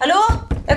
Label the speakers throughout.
Speaker 1: Hallo? Jeg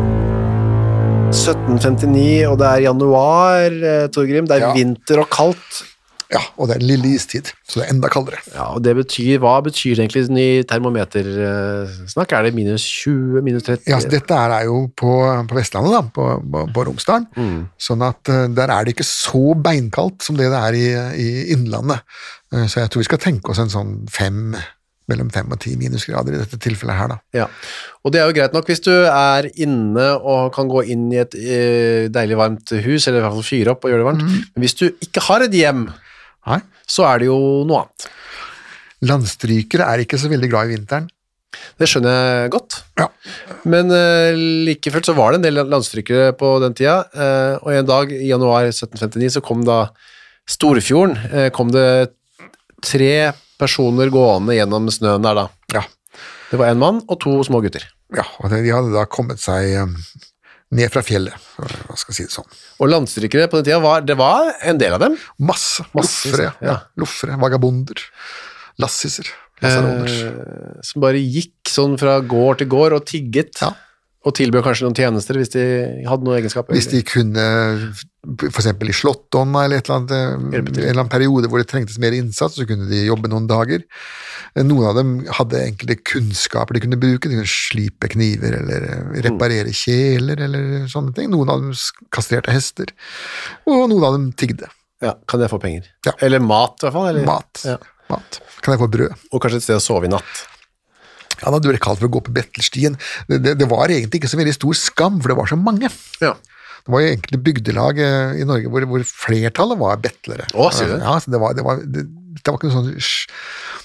Speaker 2: da. 1759, og det er januar, eh, Torgrim. Det er
Speaker 3: Ja.
Speaker 2: vinter og kaldt.
Speaker 3: Ja, og det er lille istid, så det er enda kaldere.
Speaker 2: Ja, og det betyr, Hva betyr det egentlig sånn i termometersnakk? Er det minus 20, minus 30?
Speaker 3: Ja, så Dette her er jo på, på Vestlandet, da, på, på, på Romsdalen. Sånn at eh, der er det ikke så beinkaldt som det det er i, i Innlandet. Eh, Så jeg tror vi skal tenke oss en sånn fem, mellom fem og ti minusgrader i dette tilfellet her, da.
Speaker 2: Ja, og det er jo greit nok hvis du er inne og kan gå inn i et eh, deilig varmt hus, eller i hvert fall fyre opp og gjøre det varmt.
Speaker 3: Mm.
Speaker 2: Men hvis du ikke har et hjem,
Speaker 3: Nei.
Speaker 2: så er det jo noe annet.
Speaker 3: Landstrykere er ikke så veldig glad i vinteren.
Speaker 2: Det skjønner jeg godt.
Speaker 3: Ja.
Speaker 2: Men eh, like fullt så var det en del landstrykere på den tida, eh, og en dag i januar 1759 så kom da Storfjorden, eh, kom det tre personer gående gjennom snøen der da.
Speaker 3: Ja.
Speaker 2: Det var en mann og to små gutter.
Speaker 3: ja, og det- de hadde da kommet seg eh, ned fra fjellet, hva skal jeg si det sånn.
Speaker 2: Og landstrykere på den tida, var, det var en del av dem.
Speaker 3: Masse.
Speaker 2: Massevis,
Speaker 3: Loffere, ja.
Speaker 2: ja.
Speaker 3: Loffere, vagabonder, lassiser, lasaroner.
Speaker 2: Eh, som bare gikk sånn fra gård til gård og tigget.
Speaker 3: Ja.
Speaker 2: Og tilbød kanskje noen tjenester hvis de hadde noen egenskaper.
Speaker 3: Hvis de kunne, f.eks. i Slåttonna eller et eller annet, eh, en
Speaker 2: Hjelpe til.
Speaker 3: eller annen periode hvor det trengtes mer innsats, så kunne de jobbe noen dager. Eh, Noen av dem hadde enkelte kunnskaper de kunne bruke, de kunne slipe kniver eller
Speaker 2: Mm.
Speaker 3: eh, reparere kjeler eller sånne ting. Noen av dem s- kastrerte hester, og noen av dem tigde
Speaker 2: ja, kan jeg få penger?
Speaker 3: Ja.
Speaker 2: Eller mat, i hvert fall. Eller?
Speaker 3: mat.
Speaker 2: Ja.
Speaker 3: mat. Kan jeg få brød?
Speaker 2: Og kanskje et sted å sove i natt.
Speaker 3: Ja, da hadde det vært kalt for å gå på Bettelstien. Det, det, det var egentlig ikke så veldig stor skam, for det var så mange.
Speaker 2: Ja.
Speaker 3: Det var jo enkelte bygdelag eh, i Norge hvor, hvor flertallet var betlere.
Speaker 2: Å, sier du det?
Speaker 3: Ja, så det var, det var, det, det var ikke noe sånn sj-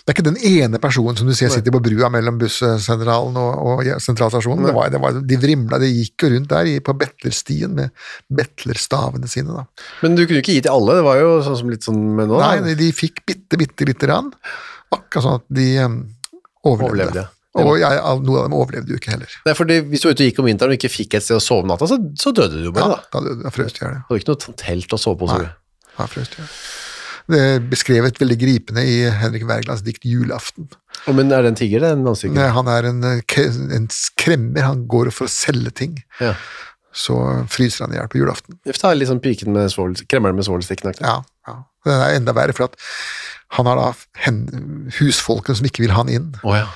Speaker 3: Det er ikke den ene personen som du ser sitter på brua mellom bussentralen og, og sentralstasjonen. Det var, det var, de vrimla, de gikk jo rundt der i- på betlerstien med betlerstavene sine. Da.
Speaker 2: Men du kunne jo ikke gi til alle, det var jo sånn som litt sånn med nå. da.
Speaker 3: Nei, de, de fikk bitte, bitte lite grann. Akkurat sånn at de eh,
Speaker 2: Overlevde,
Speaker 3: overlevde.
Speaker 2: ja.
Speaker 3: Og jeg, al- noen av dem overlevde jo ikke heller.
Speaker 2: Nei, fordi hvis du var ute og gikk om vinteren og ikke fikk et sted å sove natta, så, så døde du jo
Speaker 3: Ja,
Speaker 2: bare, da.
Speaker 3: da, da frøs de i hjel.
Speaker 2: Det var ikke noe t- telt å sove på. Så.
Speaker 3: Nei. Ja, frøs de i hjel. Det er beskrevet veldig gripende i Henrik Wergelands dikt 'Julaften'.
Speaker 2: Å, Men er det en tiger, det? En landstryker?
Speaker 3: Nei, Han er en, eh, k- en skremmer, han går for å selge ting.
Speaker 2: Ja.
Speaker 3: Så fryser han i hjel på julaften.
Speaker 2: Uff, da er det litt sånn piken med svovel, kremmeren med svovelstikken. aktig.
Speaker 3: Ja, ja. Det er enda verre, for at han har da hen, husfolkene som ikke vil ha han inn.
Speaker 2: Å ja.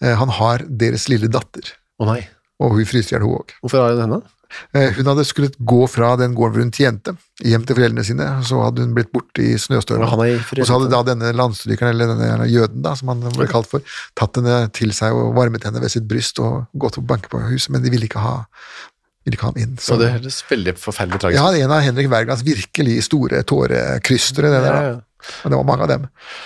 Speaker 3: Eh, Han har deres lille datter,
Speaker 2: Å nei.
Speaker 3: og hun fryser i hjel, hun òg.
Speaker 2: Hvorfor har hun henne?
Speaker 3: Eh, Hun hadde skullet gå fra den gården hvor hun tjente, hjem til foreldrene sine, så hadde hun blitt borte i snøstøvelen.
Speaker 2: Og han er i
Speaker 3: Og så hadde da denne landstrykeren, eller denne jøden, da, som han ble kalt for, tatt henne til seg og varmet henne ved sitt bryst og gått og banket på huset, men de ville ikke ha, ville ikke ha ham inn.
Speaker 2: Så det høres veldig forferdelig
Speaker 3: Jeg
Speaker 2: tragisk
Speaker 3: har en av Henrik Wergelands virkelig store tårekrystere, det der.
Speaker 2: Ja, ja.
Speaker 3: da. Og det var mange av dem.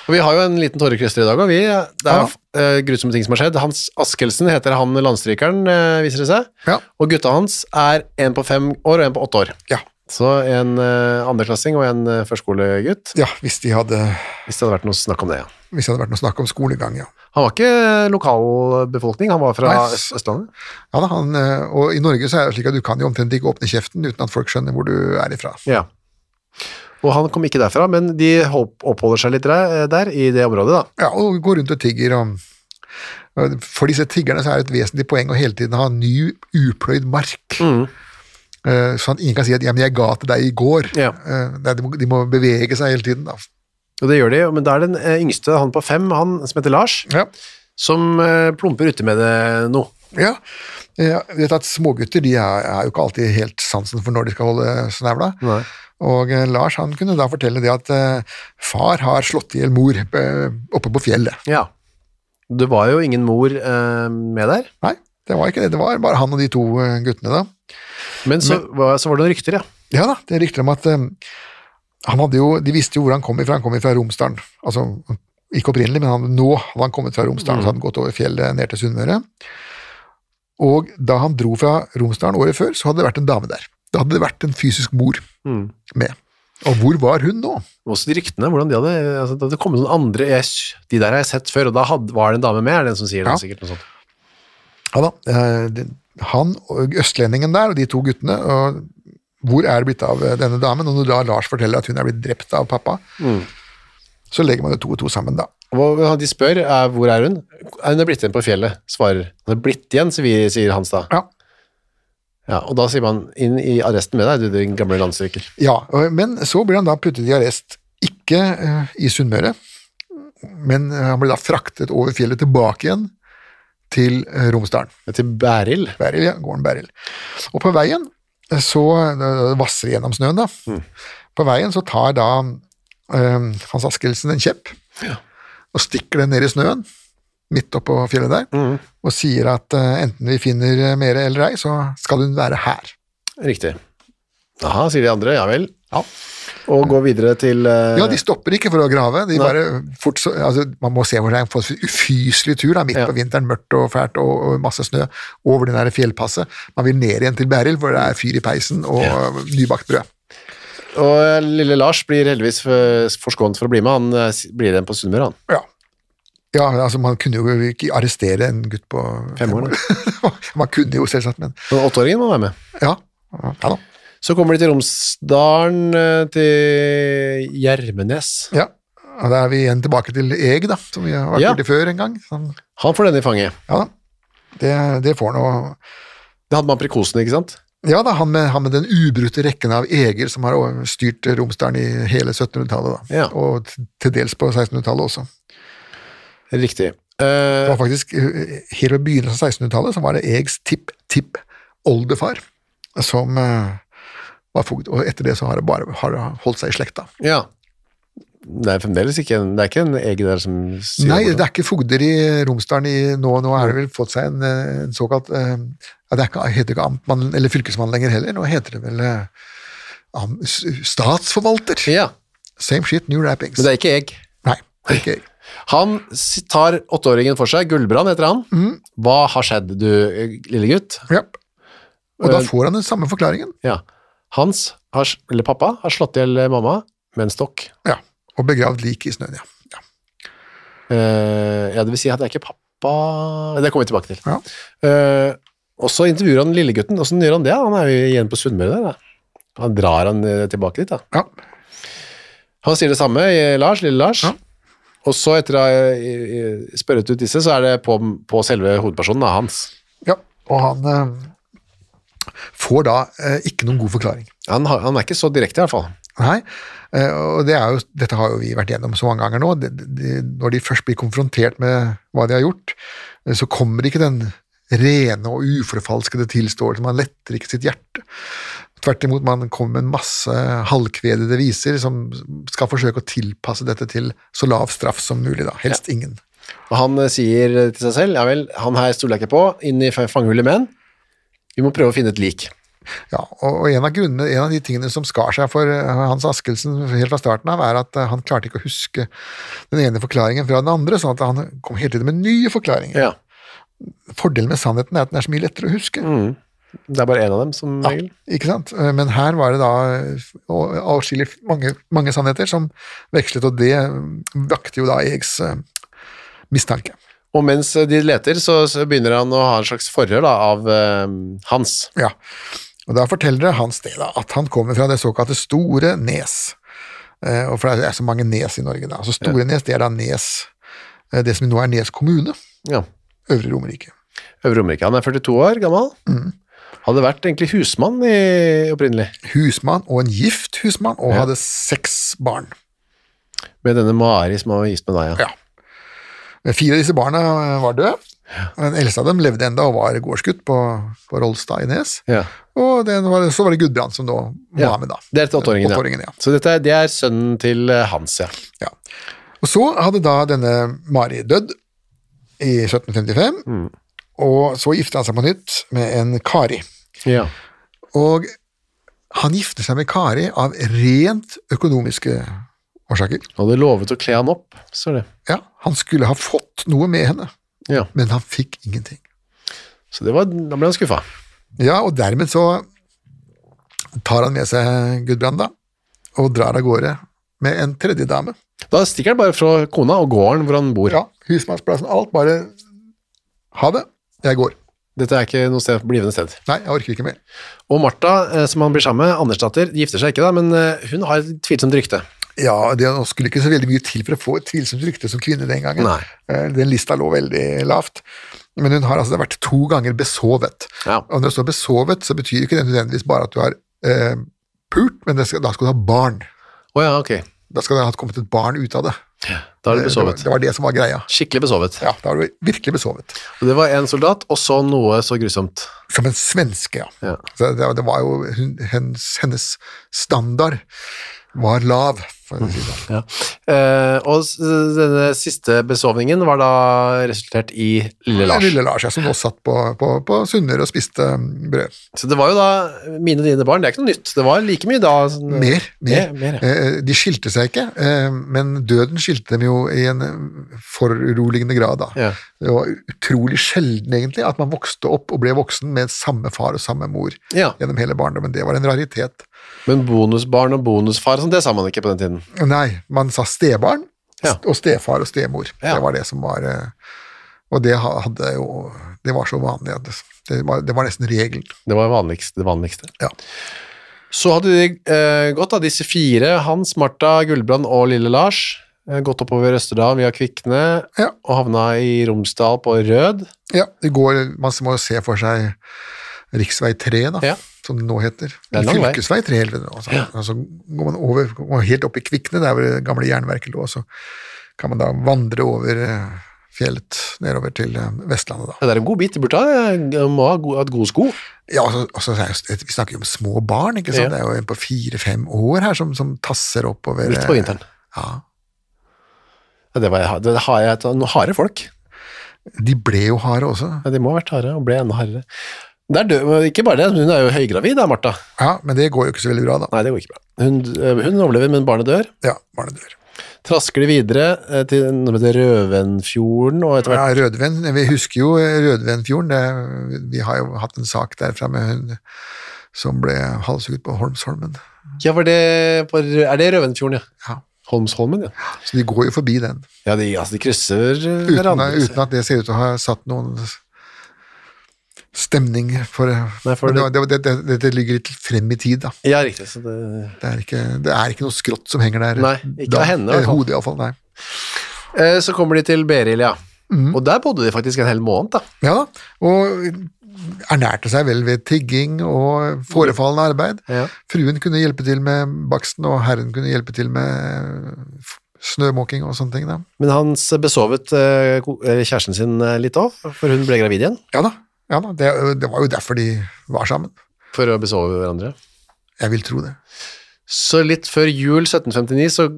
Speaker 2: Og Vi har jo en liten tårekryster i dag, og vi, det er
Speaker 3: Ja.
Speaker 2: eh, grusomme ting som har skjedd. Hans Askelsen heter han landstrykeren, eh, viser det seg.
Speaker 3: Ja.
Speaker 2: Og gutta hans er en på fem år og en på åtte år.
Speaker 3: Ja.
Speaker 2: Så en eh, andreklassing og en eh, førskolegutt,
Speaker 3: Ja, hvis de hadde,
Speaker 2: hvis det hadde vært noe snakk om det, ja.
Speaker 3: hvis det hadde vært noe snakk om skolegang, ja.
Speaker 2: Han var ikke lokalbefolkning, han var fra
Speaker 3: Nei.
Speaker 2: Øst- Østlandet.
Speaker 3: Ja, da, han, eh, og i Norge så er det slik at du kan jo omtrent ikke åpne kjeften uten at folk skjønner hvor du er ifra.
Speaker 2: Ja. Og han kom ikke derfra, men de hol- oppholder seg litt der, eh, der i det området, da.
Speaker 3: Ja, og går rundt og tigger og og For disse tiggerne så er det et vesentlig poeng å hele tiden ha ny, upløyd mark. Eh, Sånn at ingen kan si at 'ja, men jeg ga til deg i går'.
Speaker 2: Ja.
Speaker 3: Eh, Nei, de, må, de må bevege seg hele tiden, da.
Speaker 2: Og det gjør de, men da er den eh, yngste, han på fem, han som heter Lars,
Speaker 3: Ja.
Speaker 2: som eh, plumper uti med det nå.
Speaker 3: Ja. Eh, Jeg vet at Smågutter de er, er jo ikke alltid helt sansen for når de skal holde snevla.
Speaker 2: Nei.
Speaker 3: Og eh, Lars han kunne da fortelle det at eh, far har slått i hjel mor eh, oppe på fjellet.
Speaker 2: Ja. Det var jo ingen mor eh, med der,
Speaker 3: Nei, det var ikke det. Det var bare han og de to eh, guttene, da.
Speaker 2: men så, var, så var det noen rykter, ja.
Speaker 3: Ja da, det er rykter om at eh, han hadde jo, de visste jo hvor han kom ifra. Han kom ifra Romsdalen. Altså, ikke opprinnelig, men han, nå hadde han kommet fra Romsdalen, så hadde han gått over fjellet ned til Sunnmøre. Og da han dro fra Romsdalen året før, så hadde det vært en dame der. Da hadde det vært en fysisk mor med. Og hvor var hun nå?
Speaker 2: Også de ryktene, hvordan de hadde altså, Det hadde kommet noen andre jeg, s- De der har jeg sett før, og da hadde, var det en dame med, er det en som sier det?
Speaker 3: Ja.
Speaker 2: sikkert noe sånt.
Speaker 3: Ja da, eh, det- han og østlendingen der, og de to guttene, og hvor er det blitt av eh, denne damen? Og når da Lars forteller at hun er blitt drept av pappa, så legger man jo to og to sammen da.
Speaker 2: Hva- De spør er, hvor er hun er Hun er blitt igjen på fjellet, svarer. Hun er blitt igjen, sier vi- sier Hans da.
Speaker 3: Ja,
Speaker 2: Ja, og da sier man inn i arresten med deg, du din gamle landstryker.
Speaker 3: Ja, og- men så blir han da puttet i arrest, ikke eh, i Sunnmøre, men eh, han blir da fraktet over fjellet tilbake igjen til eh, Romsdalen.
Speaker 2: Til Bærild.
Speaker 3: Beril, ja, gården Beril. Og på veien eh, så eh, vasser det gjennom snøen, da. På veien så tar da eh, Hans Askelsen en kjepp og stikker den ned i snøen, midt oppå fjellet der, og sier at eh, enten vi finner eh, mere eller ei, så skal hun være her.
Speaker 2: Riktig. Aha, sier de andre. Ja vel.
Speaker 3: Ja.
Speaker 2: Og går videre til eh,
Speaker 3: Ja, de stopper ikke for å grave. De
Speaker 2: Nei.
Speaker 3: bare fort, så- altså, man må se hvor det er en for- ufyselig tur da, midt
Speaker 2: Ja.
Speaker 3: på vinteren, mørkt og fælt og, og masse snø over det der fjellpasset. Man vil ned igjen til Beril, hvor det er fyr i peisen og eh, nybakt brød.
Speaker 2: Og eh, lille Lars blir heldigvis eh, forskånet for å bli med. Han eh, s- blir igjen på Sunnmøre, han.
Speaker 3: Ja. ja, altså man kunne jo ikke arrestere en gutt på
Speaker 2: Fem år,
Speaker 3: man kunne jo selvsagt, men
Speaker 2: Men Åtteåringen må være med.
Speaker 3: ja. Ja da.
Speaker 2: Så kommer de til Romsdalen, eh, til Gjermenes.
Speaker 3: Ja. Og da er vi igjen tilbake til Eg, da, som vi har vært
Speaker 2: Ja.
Speaker 3: borti før en gang. Sånn,
Speaker 2: Han får denne i fanget.
Speaker 3: ja da. Det, det får nå
Speaker 2: Det hadde man prekosen, ikke sant?
Speaker 3: Ja da, han med, han med den ubrutte rekken av eger som har styrt Romsdalen i hele 1700-tallet, da.
Speaker 2: Ja.
Speaker 3: Og t- til dels på 1600-tallet også.
Speaker 2: Riktig.
Speaker 3: Det
Speaker 2: Eh,
Speaker 3: var faktisk eh, Helt ved begynnelsen av 1600-tallet så var det Egs tipp-tipp-oldefar som eh, var fogd, og etter det så har det bare har det holdt seg i slekta.
Speaker 2: ja. Det er fremdeles ikke en, det er ikke en egen der som sier
Speaker 3: Nei,
Speaker 2: noe.
Speaker 3: det er ikke fogder i Romsdalen i, nå, nå er det vel fått seg en, eh, en såkalt eh, ja, Det er ikke, heter ikke amtmann eller fylkesmann lenger heller, nå heter det vel eh, am, s- statsforvalter.
Speaker 2: Ja,
Speaker 3: Same shit, new wrappings.
Speaker 2: men det er ikke egg.
Speaker 3: Nei, det er ikke jeg.
Speaker 2: Han s- tar åtteåringen for seg, Gullbrand heter han.
Speaker 3: Mhm.
Speaker 2: Hva har skjedd, du eh, lille gutt?
Speaker 3: Ja. Og da
Speaker 2: Eh,
Speaker 3: får han den samme forklaringen.
Speaker 2: Ja. Hans, har, s- eller pappa, har slått ihjel mamma med en stokk.
Speaker 3: Ja. Og begravd lik i snøen, ja. ja.
Speaker 2: Eh, ja, det vil si at det er ikke pappa Det kommer vi tilbake til.
Speaker 3: Ja.
Speaker 2: Eh, og så intervjuer han lillegutten. Åssen gjør han det? Han er jo igjen på Sunnmøre der. Da. Han drar han eh, tilbake dit, da.
Speaker 3: ja.
Speaker 2: Han sier det samme, eh, Lars, lille Lars.
Speaker 3: Ja.
Speaker 2: Og så, etter å ha eh, spørret ut disse, så er det på, på selve hovedpersonen, da, hans.
Speaker 3: Ja, og han eh, får da eh, ikke noen god forklaring.
Speaker 2: Han, har- han er ikke så direkte, i hvert fall.
Speaker 3: Nei, eh, og det er jo, dette har jo vi vært gjennom så mange ganger nå. De, de, når de først blir konfrontert med hva de har gjort, eh, så kommer ikke den rene og uforfalskede tilståelsen. Man letter ikke sitt hjerte. Tvert imot, man kommer med en masse halvkvedede viser som skal forsøke å tilpasse dette til så lav straff som mulig, da. Helst ingen.
Speaker 2: Og han eh, sier til seg selv ja vel, han her stoler jeg ikke på, inn i fa- fangehullet med han. Vi må prøve å finne et lik.
Speaker 3: Ja, og, og en av grunnene, en av de tingene som skar seg for eh, Hans Askelsen helt fra starten av, er at eh, han klarte ikke å huske den ene forklaringen fra den andre, sånn at han kom hele tiden med nye forklaringer.
Speaker 2: Ja.
Speaker 3: Fordelen med sannheten er at den er så mye lettere å huske.
Speaker 2: Det er bare én av dem, som regel.
Speaker 3: Ikke sant? Eh, Men her var det da eh, å- avskillig mange, mange sannheter som vekslet, og det eh, vakte jo da Egs eh, mistanke.
Speaker 2: Og mens de leter, så, så begynner han å ha en slags forhør da, av eh, Hans.
Speaker 3: Ja, og da forteller Hans det da, at han kommer fra det såkalte Store Nes. Eh, og for det er så mange nes i Norge da. Så Store Nes, det er da Nes, eh, det som nå er Nes kommune,
Speaker 2: Ja.
Speaker 3: Øvre Romerike.
Speaker 2: Øvre Romerike. Han er 42 år gammel.
Speaker 3: Mm.
Speaker 2: Hadde vært egentlig husmann i, opprinnelig,
Speaker 3: Husmann og en gift husmann, og hadde seks barn.
Speaker 2: med denne Mari som han var gift med deg. Ja.
Speaker 3: Ja. Fire av disse barna eh, var døde. Den eldste av dem levde enda og var gårdsgutt på, på Rolstad i Nes.
Speaker 2: Ja.
Speaker 3: Og den var, så var det Gudbrand som nå var
Speaker 2: Ja,
Speaker 3: med da.
Speaker 2: Det er til åtteåringen,
Speaker 3: Åtteåringen, ja.
Speaker 2: Så dette er, det er sønnen til eh, Hans, ja.
Speaker 3: Ja. Og så hadde da denne Mari dødd i 1755, og så gifter han seg på nytt med en Kari.
Speaker 2: ja.
Speaker 3: Og han gifter seg med Kari av rent økonomiske årsaker.
Speaker 2: Han hadde lovet å kle han opp, så det.
Speaker 3: Ja, han skulle ha fått noe med henne,
Speaker 2: Ja.
Speaker 3: men han fikk ingenting.
Speaker 2: Så det var, da ble han skuffa.
Speaker 3: Ja, og dermed så tar han med seg Gudbrand da, og drar av gårde med en tredje dame.
Speaker 2: Da stikker han bare fra kona og gården hvor han bor.
Speaker 3: Ja, husmannsplassen, alt, bare ha det, jeg går.
Speaker 2: Dette er ikke noe sted, blivende sted.
Speaker 3: Nei, jeg orker ikke mer.
Speaker 2: Og Martha, eh, som han blir sammen med, Andersdatter, gifter seg ikke, da, men eh, hun har et tvilsomt rykte.
Speaker 3: Ja, det nå skulle ikke så veldig mye til for å få et tvilsomt rykte som kvinne den gangen.
Speaker 2: Nei.
Speaker 3: Eh, Den lista lå veldig lavt. Men hun har altså vært to ganger besovet.
Speaker 2: Ja.
Speaker 3: Og når det står besovet, så betyr ikke det nødvendigvis bare at du har eh, pult, men det skal, da skal du ha barn.
Speaker 2: Å ja, ok.
Speaker 3: Da skal det ha kommet et barn ut av det.
Speaker 2: Da har
Speaker 3: Eh, Det-
Speaker 2: du besovet.
Speaker 3: Det var, det var det som var greia.
Speaker 2: Skikkelig besovet.
Speaker 3: Ja, da har du virkelig besovet.
Speaker 2: Og Det var en soldat, og så noe så grusomt.
Speaker 3: Som en svenske, ja.
Speaker 2: Ja.
Speaker 3: Så det, det var jo hun, hennes, hennes standard var lav. For å si det. sånn.
Speaker 2: Ja. Eh, og s- denne siste besovningen var da resultert i Lille Lars.
Speaker 3: Eh, Lille Lars, ja, som nå satt på, på, på Sunnmøre og spiste mm, brød.
Speaker 2: Så det var jo da mine og dine barn, det er ikke noe nytt. Det var like mye da. sånn-
Speaker 3: Mer. mer.
Speaker 2: Mer, mer, ja.
Speaker 3: Eh, De skilte seg ikke, eh, men døden skilte dem jo i en eh, foruroligende grad. Da.
Speaker 2: Ja.
Speaker 3: Det var utrolig sjelden egentlig at man vokste opp og ble voksen med samme far og samme mor
Speaker 2: Ja.
Speaker 3: gjennom hele barndommen. Det var en raritet.
Speaker 2: Men bonusbarn og bonusfar, og sånn, det sa man ikke på den tiden.
Speaker 3: Nei, man sa stebarn
Speaker 2: Ja.
Speaker 3: og stefar og stemor.
Speaker 2: Ja.
Speaker 3: Det var det som var eh, Og det ha- hadde jo Det var så vanlig at det, det, var, det var nesten regelen.
Speaker 2: Det var vanligst, det vanligste.
Speaker 3: Ja.
Speaker 2: Så hadde de eh, gått, da, disse fire, Hans, Martha, Gullbrand og Lille Lars, eh, gått oppover Østerdal via Kvikne,
Speaker 3: Ja.
Speaker 2: og havna i Romsdal på Rød.
Speaker 3: Ja, det går, man må jo se for seg riksvei 3, da,
Speaker 2: Ja.
Speaker 3: som det nå heter.
Speaker 2: Det er lang vei.
Speaker 3: Fylkesvei 3, heter det nå. Så, altså. og så går man over, går man helt opp i Kvikne, der hvor det gamle jernverket lå, og så kan man da vandre over eh, fjellet nedover til eh, Vestlandet, da.
Speaker 2: Ja, Det er en god bit, de burde ha, de må ha go- hatt gode sko.
Speaker 3: Ja, og så, og så er det jo- Vi snakker jo om små barn, ikke sant?
Speaker 2: Ja.
Speaker 3: Det er jo en på fire-fem år her som, som tasser oppover.
Speaker 2: Midt på vinteren.
Speaker 3: eh, Ja.
Speaker 2: Ja, det var det har jeg, noen harde folk.
Speaker 3: De ble jo harde også.
Speaker 2: Ja, de må ha vært harde, og ble enda hardere. Det er død, men ikke bare det, men hun er jo høygravid da, Martha.
Speaker 3: Ja, men det går jo ikke så veldig bra, da.
Speaker 2: Nei, det går ikke bra. Hun, eh, hun overlever, men barnet dør.
Speaker 3: Ja, barnet dør.
Speaker 2: Trasker de videre eh, til noe som heter Røvenfjorden, og etter hvert
Speaker 3: Ja, Rødven. Vi husker jo Rødvenfjorden. Det, vi har jo hatt en sak derfra med hun som ble halshugget på Holmsholmen.
Speaker 2: Ja, var det på, Rø- er det Røvenfjorden, ja?
Speaker 3: Ja.
Speaker 2: Holmsholmen, ja.
Speaker 3: Så de går jo forbi den,
Speaker 2: Ja, de, altså, de krysser eh,
Speaker 3: uten,
Speaker 2: hverandre.
Speaker 3: uten at det ser ut til å ha satt noen stemning for,
Speaker 2: Nei, for
Speaker 3: men det, det, det, det, det ligger litt frem i tid, da.
Speaker 2: Ja, riktig. Så det,
Speaker 3: Det er ikke, det er ikke noe skrått som henger der.
Speaker 2: Nei, ikke
Speaker 3: da.
Speaker 2: av henne, i hvert
Speaker 3: Eh,
Speaker 2: fall.
Speaker 3: Hodet, iallfall. Nei.
Speaker 2: eh, så kommer de til Beril, ja.
Speaker 3: Mhm.
Speaker 2: Og der bodde de faktisk en hel måned, da.
Speaker 3: Ja da. Og ernærte seg vel ved tigging og forefallende arbeid.
Speaker 2: Ja.
Speaker 3: Fruen kunne hjelpe til med baksten, og herren kunne hjelpe til med f- snømåking og sånne ting. Da.
Speaker 2: Men hans besovet eh, ko- eh, kjæresten sin eh, litt òg, for hun ble gravid igjen.
Speaker 3: Ja da. Ja da. Det, det var jo derfor de var sammen.
Speaker 2: For å besove hverandre.
Speaker 3: Jeg vil tro det.
Speaker 2: Så litt før jul 1759 så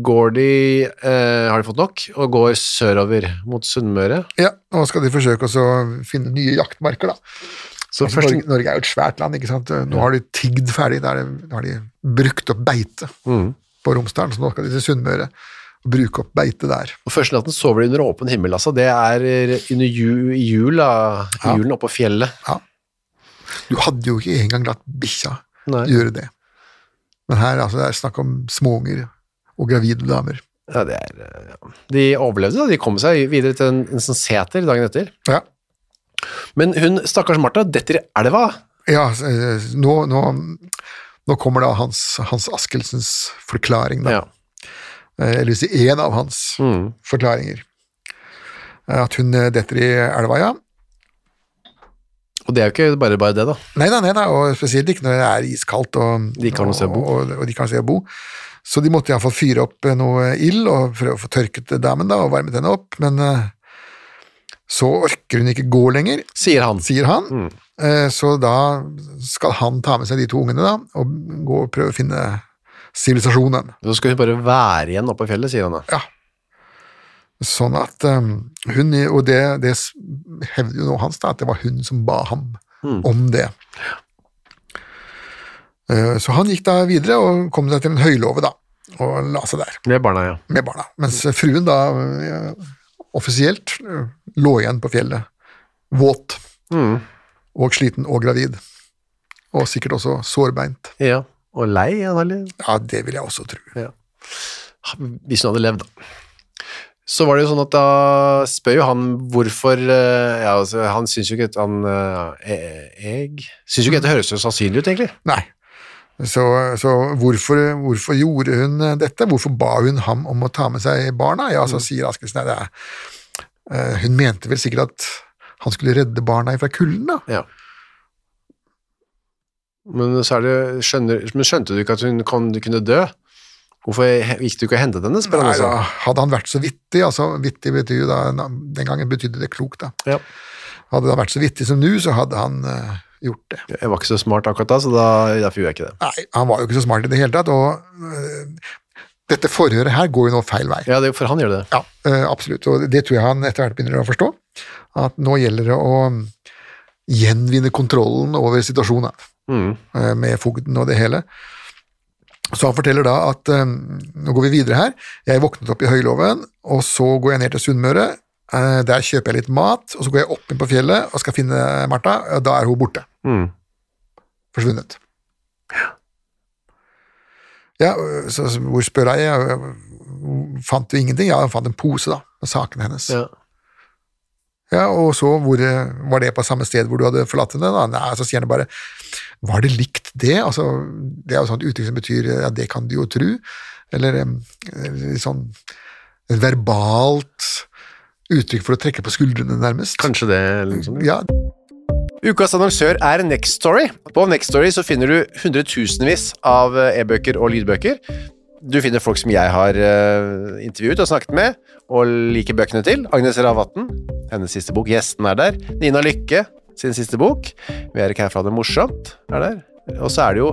Speaker 2: går de, eh, har de fått nok, og går sørover mot Sunnmøre.
Speaker 3: Ja, Nå skal de forsøke også å finne nye jaktmarker, da.
Speaker 2: Så
Speaker 3: Altså,
Speaker 2: først,
Speaker 3: Norge, Norge er jo et svært land, ikke sant. Nå har de tigd ferdig. Da er det- da har de brukt opp beite
Speaker 2: Mm.
Speaker 3: på Romsdalen, så nå skal de til Sunnmøre og bruke opp beite der.
Speaker 2: og første natten sover de under åpen himmel, altså. Det er eh, under ju, i jula, i
Speaker 3: Ja.
Speaker 2: julen oppe på fjellet.
Speaker 3: Du hadde jo ikke engang latt bikkja
Speaker 2: Nei.
Speaker 3: gjøre det. Men her altså, det er snakk om småunger og gravide damer.
Speaker 2: Ja, det er, eh, ja. De overlevde, da. De kom seg videre til en, en sånn seter dagen etter.
Speaker 3: Ja.
Speaker 2: Men hun, stakkars Martha, detter i elva.
Speaker 3: Ja, eh, nå, nå, nå kommer da Hans, Hans Askelsens forklaring, da.
Speaker 2: Ja. Mm.
Speaker 3: Eh, Eller hvis det er en av hans forklaringer. Eh, At hun eh, detter i elva, ja.
Speaker 2: Og det er jo ikke bare bare det, da.
Speaker 3: Nei da, nei da, og spesielt ikke når det er iskaldt og
Speaker 2: De ikke har noe sted å bo.
Speaker 3: Og, og, og de ikke har noe sted å bo. Så de måtte iallfall fyre opp eh, noe ild og prøve å få tørket damen da, og varmet henne opp, men eh, så orker hun ikke gå lenger,
Speaker 2: Sier han.
Speaker 3: sier han. Eh, Så da skal han ta med seg de to ungene da, og gå og prøve å finne sivilisasjonen.
Speaker 2: Så skal hun bare være igjen oppe i fjellet, sier han da.
Speaker 3: Sånn at um, hun, og det, det s- hevder jo nå hans, da, at det var hun som ba ham om det. Eh, Så han gikk da videre og kom seg til en høylåve, da, og la seg der
Speaker 2: Med barna, ja.
Speaker 3: med barna. Mens fruen da eh, offisielt eh, lå igjen på fjellet, våt og sliten og gravid. Og sikkert også sårbeint.
Speaker 2: ja. Og lei, antakelig.
Speaker 3: Ja, det vil jeg også tro.
Speaker 2: hvis hun hadde levd, da. Så var det jo sånn at da spør jo han hvorfor eh, ja, altså, Han syns jo ikke at han eh, eh, Jeg syns jo ikke at det høres så sannsynlig ut, egentlig.
Speaker 3: Nei. Så, så hvorfor, hvorfor gjorde hun eh, dette? Hvorfor ba hun ham om å ta med seg barna? Ja, så sier Askelsen nei, det er, eh, Hun mente vel sikkert at han skulle redde barna fra kulden, da.
Speaker 2: Ja. Men, så er det, skjønner, men skjønte du ikke at hun kan, kunne dø? Hvorfor he- gikk du ikke og hentet henne? spør han
Speaker 3: Nei, da,
Speaker 2: også.
Speaker 3: hadde han vært så vittig, altså vittig betyr jo da, den gangen betydde det klokt, da.
Speaker 2: Ja.
Speaker 3: Hadde han vært så vittig som nå, så hadde han eh, gjort det.
Speaker 2: Jeg var ikke så smart akkurat da, så da, derfor gjorde jeg ikke det.
Speaker 3: Nei, han var jo ikke så smart i det hele tatt, og eh, dette forhøret her går jo nå feil vei.
Speaker 2: Ja, det, For han gjør det.
Speaker 3: Ja, eh, absolutt, og det tror jeg han etter hvert begynner å forstå, at nå gjelder det å mm, gjenvinne kontrollen over situasjonen
Speaker 2: Mm.
Speaker 3: eh, med fogden og det hele. Så han forteller da at eh, nå går vi videre her, jeg våknet opp i høyloven, og så går jeg ned til Sunnmøre, eh, der kjøper jeg litt mat, og så går jeg opp inn på fjellet og skal finne Martha, og da er hun borte.
Speaker 2: Mm.
Speaker 3: Forsvunnet. Ja, øh, så så hvor spør jeg, øh, fant du ingenting? Ja, jeg fant en pose da, med sakene hennes.
Speaker 2: Ja.
Speaker 3: Ja, og så hvor, øh, var det på samme sted hvor du hadde forlatt henne? Da? Nei, så sier han bare Var det likt det? Altså, det er jo sånn et uttrykk som betyr ja, det kan du jo tru, eller øh, litt sånn et verbalt uttrykk for å trekke på skuldrene, nærmest.
Speaker 2: Kanskje det eller noe sånt.
Speaker 3: Ja,
Speaker 2: Ukas annonsør er Next Story. På Next Story så finner du hundretusenvis av eh, e-bøker og lydbøker. Du finner folk som jeg har eh, intervjuet og snakket med, og liker bøkene til. Agnes Ravatn, hennes siste bok. Gjesten er der. Nina Lykke, sin siste bok. Vi er ikke her for å ha det morsomt, er der. Og så er det jo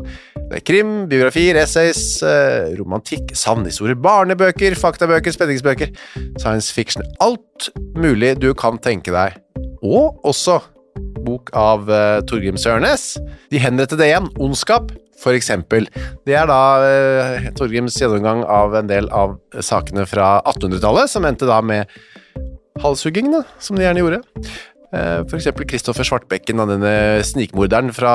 Speaker 2: det er krim, biografier, essays, eh, romantikk, savnehistorier, barnebøker, faktabøker, spenningsbøker, science fiction. Alt mulig du kan tenke deg. Og også bok av eh, Torgrim Sørnes. De henrettede igjen, ondskap, for eksempel. Det er da eh, Torgrims gjennomgang av en del av sakene fra 1800-tallet, som endte da med halshuggingene, som de gjerne gjorde. Eh, For eksempel Kristoffer Svartbekken, da, denne snikmorderen fra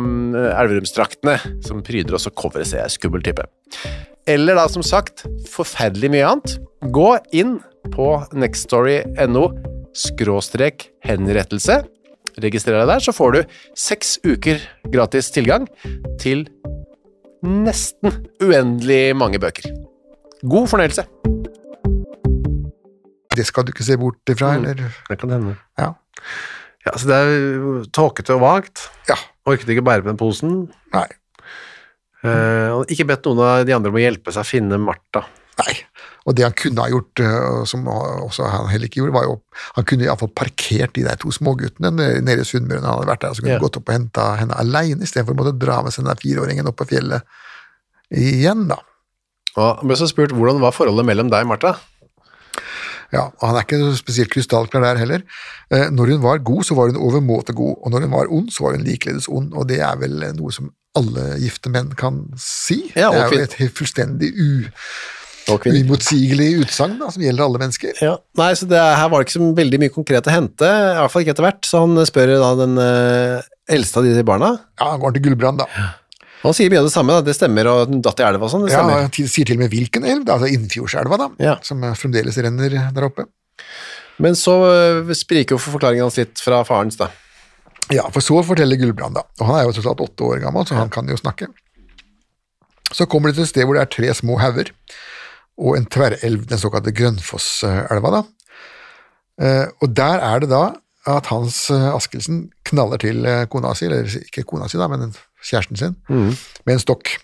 Speaker 2: mm, Elverumsdraktene, som pryder også coveret, ser jeg, skummel type. Eller da, som sagt, forferdelig mye annet. Gå inn på nextstory.no skråstrek henrettelse. Registrer deg der, så får du seks uker gratis tilgang til nesten uendelig mange bøker. God fornøyelse.
Speaker 3: det skal du ikke se bort ifra,
Speaker 2: Mm.
Speaker 3: eller?
Speaker 2: Det kan hende.
Speaker 3: Ja.
Speaker 2: Ja, så det er jo tåkete og vagt.
Speaker 3: ja.
Speaker 2: Orket ikke bære på den posen.
Speaker 3: Nei.
Speaker 2: Eh, og ikke bedt noen av de andre om å hjelpe seg å finne Martha.
Speaker 3: Nei. Og det han kunne ha gjort, øh, som også han heller ikke gjorde, var jo Han kunne iallfall parkert de der to småguttene nede nede i Sunnmøre når han hadde vært der, og så kunne
Speaker 2: Ja.
Speaker 3: han gått opp og henta henne aleine istedenfor å måtte dra med seg den der fireåringen opp på fjellet igjen, da.
Speaker 2: Og han ble så spurt hvordan var forholdet mellom deg, Martha?
Speaker 3: Ja, og Han er ikke så spesielt krystallklar der heller. Eh, Når hun var god, så var hun overmåte god, og når hun var ond, så var hun likeledes ond, og det er vel noe som alle gifte menn kan si.
Speaker 2: Ja, og
Speaker 3: det er
Speaker 2: kvin-
Speaker 3: jo et helt fullstendig u-
Speaker 2: Og
Speaker 3: uimotsigelig utsagn da, som gjelder alle mennesker.
Speaker 2: Ja, nei, så det, her var det ikke så veldig mye konkret å hente, i hvert fall ikke etter hvert, så han spør da den eh, eldste av de barna,
Speaker 3: Ja, han går til Gullbrand, da.
Speaker 2: Han sier mye av det samme, da. det stemmer, og den datt i elva og sånn, det
Speaker 3: Ja,
Speaker 2: stemmer.
Speaker 3: han til- sier til og med hvilken elv, da, altså Innfjordselva, da,
Speaker 2: Ja.
Speaker 3: som eh, fremdeles renner der oppe.
Speaker 2: Men så øh, spriker jo forklaringen hans litt fra farens, da.
Speaker 3: Ja, for så forteller Gulbrand, da. Og han er jo tross alt åtte år gammel, så han kan jo snakke. Så kommer de til et sted hvor det er tre små hauger og en tverrelv, den såkalte Grønnfosselva, da. Eh, og der er det da at Hans eh, Askelsen knaller til eh, kona si, eller ikke kona si, da, men kjæresten sin,
Speaker 2: Mm.
Speaker 3: med en stokk.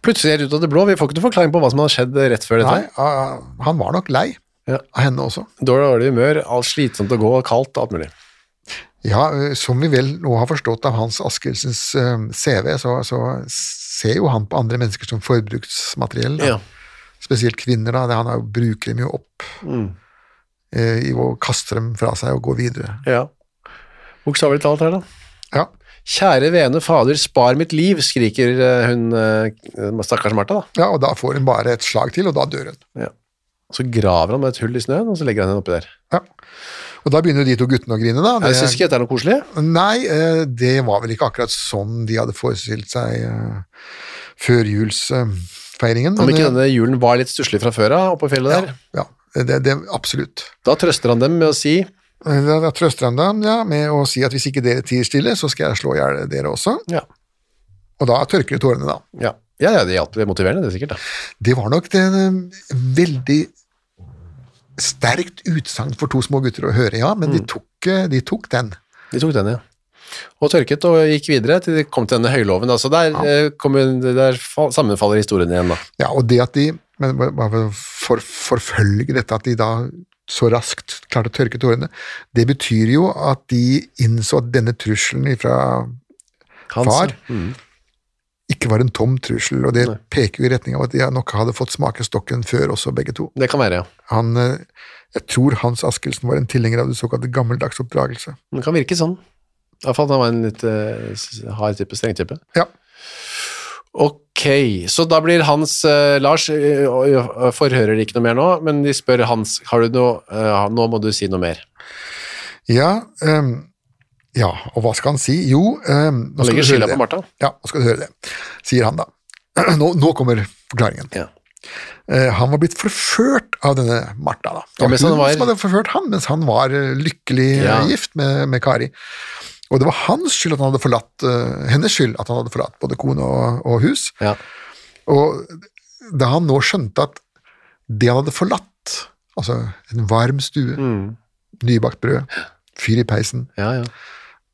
Speaker 2: Plutselig helt ut av det blå, vi får ikke noen forklaring på hva som har skjedd rett før dette.
Speaker 3: Nei, ah, han var nok lei
Speaker 2: Ja.
Speaker 3: av henne også.
Speaker 2: Dårlig, dårlig humør, alt slitsomt å gå, kaldt, alt mulig.
Speaker 3: Ja, eh, som vi vel nå har forstått av Hans Askelsens eh, CV, så, så ser jo han på andre mennesker som forbruksmateriell. Da.
Speaker 2: Ja.
Speaker 3: Spesielt kvinner, da. det- Han er jo- bruker dem jo opp.
Speaker 2: Mm.
Speaker 3: eh, i å kaste dem fra seg og gå videre.
Speaker 2: Ja. Bokstavelig talt her, da.
Speaker 3: Ja,
Speaker 2: Kjære vene fader, spar mitt liv, skriker øh, hun øh, stakkars Martha, da.
Speaker 3: ja og da får hun bare et slag til, og da dør hun.
Speaker 2: Så graver han med et hull i snøen, og så legger han henne oppi der.
Speaker 3: Ja. Og da begynner jo de to guttene å grine, da.
Speaker 2: Jeg syns ikke dette er noe koselig.
Speaker 3: Nei, eh, det var vel ikke akkurat sånn de hadde forestilt seg eh, førjulsfeiringen.
Speaker 2: Om
Speaker 3: men,
Speaker 2: ikke
Speaker 3: eh,
Speaker 2: denne julen var litt stusslig fra før av, oppå fjellet der.
Speaker 3: Ja, ja det, det, absolutt.
Speaker 2: Da trøster han dem med å si
Speaker 3: Eh, Da, da trøster han dem ja, med å si at hvis ikke dere tier stille, så skal jeg slå i hjel dere også.
Speaker 2: Ja,
Speaker 3: Og da tørker de tårene, da.
Speaker 2: ja, ja, ja det hjalp. Det er motiverende, det er sikkert. Da.
Speaker 3: Det var nok det eh, veldig sterkt utsagn for to små gutter å høre, ja, men de, tok, eh, de tok den.
Speaker 2: De tok den, ja. Og tørket og gikk videre til de kom til denne høyloven. Da. Så der, eh, kom hun, der fa- sammenfaller historien igjen, da.
Speaker 3: Ja, og det at de men bare- bare for, forfølger dette at de da så raskt klarte å tørke tårene, det betyr jo at de innså at denne trusselen fra
Speaker 2: Hans, Mm,
Speaker 3: far ikke var en tom trussel, og det peker jo i retning av at de nok hadde fått smake stokken før også, begge to.
Speaker 2: Det kan være, ja.
Speaker 3: Han, eh, jeg tror Hans Askelsen var en tilhenger av det såkalte gammeldags oppdragelse.
Speaker 2: Det kan virke sånn. Iallfall han var en litt eh, s- hard type, streng type.
Speaker 3: Ja,
Speaker 2: Ok, så da blir Hans eh, Lars eh, og- og forhører de ikke noe mer nå, men de spør Hans har du noe, eh, nå må du si noe mer.
Speaker 3: ja, ehm, ja og hva skal han si? Jo ehm, nå
Speaker 2: Han
Speaker 3: skal
Speaker 2: legger
Speaker 3: du høre
Speaker 2: skylda
Speaker 3: det.
Speaker 2: på Martha.
Speaker 3: Ja, nå skal du høre det, sier han da. Nå, nå kommer forklaringen.
Speaker 2: Ja.
Speaker 3: Eh, han var blitt forført av denne Martha. Da. Det
Speaker 2: Ja, mens
Speaker 3: var hun
Speaker 2: han var-
Speaker 3: som hadde forført han, mens han var eh, lykkelig eh,
Speaker 2: Ja.
Speaker 3: gift med, med Kari. Og det var hans skyld at han hadde forlatt, eh, hennes skyld at han hadde forlatt både kone og, og hus.
Speaker 2: Ja.
Speaker 3: Og da han nå skjønte at det han hadde forlatt, altså en varm stue,
Speaker 2: Mm.
Speaker 3: nybakt brød, fyr i peisen,
Speaker 2: Ja, ja.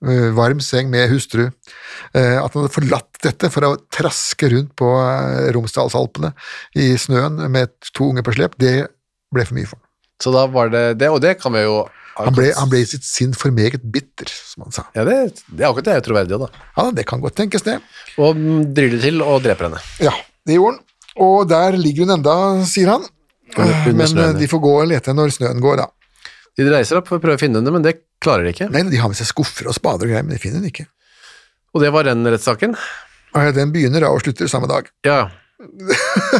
Speaker 3: eh, varm seng med hustru. Eh, At han hadde forlatt dette for å traske rundt på eh, Romsdalsalpene i snøen med to unge på slep, det ble for mye for ham.
Speaker 2: Så da var det det, og det kan vi jo
Speaker 3: Han ble, han ble i sitt sinn for meget bitter, som han sa.
Speaker 2: Ja, det, det er akkurat det jeg er troverdig, da.
Speaker 3: Ja, det kan godt tenkes, det.
Speaker 2: Og mm, driller til og dreper henne.
Speaker 3: Ja, det gjorde han. Og der ligger hun enda, sier han.
Speaker 2: Under- under
Speaker 3: Men eh,
Speaker 2: snøen, ja.
Speaker 3: de får gå og lete når snøen går, da.
Speaker 2: De reiser opp for å prøve å finne henne, men det klarer de ikke.
Speaker 3: Nei, De har med seg skuffer og spader og greier, men de finner hun ikke.
Speaker 2: Og det var den rettssaken.
Speaker 3: Eh, Den begynner da og slutter samme dag.
Speaker 2: Ja,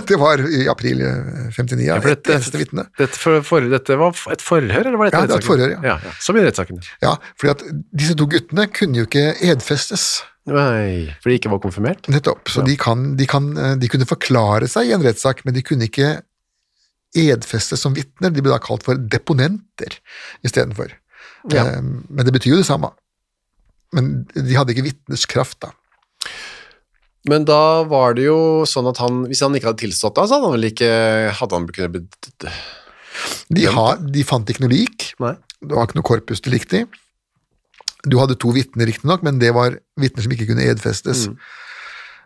Speaker 3: Det var i april eh, 59, ja,
Speaker 2: for
Speaker 3: et
Speaker 2: dette-
Speaker 3: eneste vitne.
Speaker 2: dette, for, for, dette var f- et forhør, eller var dette
Speaker 3: Ja, det var et
Speaker 2: rettssaken?
Speaker 3: forhør, ja.
Speaker 2: ja. ja. Så blir rettssaken.
Speaker 3: Ja, fordi at disse to guttene kunne jo ikke edfestes,
Speaker 2: Nei, fordi de ikke var konfirmert.
Speaker 3: nettopp. Så de, kan, de, kan, eh, de kunne forklare seg i en rettssak, men de kunne ikke edfestes som vitner. De ble da kalt for deponenter istedenfor.
Speaker 2: Ja.
Speaker 3: Eh, Men det betyr jo det samme. Men de hadde ikke vitners kraft, da.
Speaker 2: Men da var det jo sånn at han, hvis han ikke hadde tilstått da, så hadde han vel ikke, hadde han kunnet blitt
Speaker 3: De, har, de fant ikke noe lik,
Speaker 2: Nei.
Speaker 3: det var ikke noe korpus til likt i. Du hadde to vitner, riktignok, men det var vitner som ikke kunne edfestes.
Speaker 2: Mm.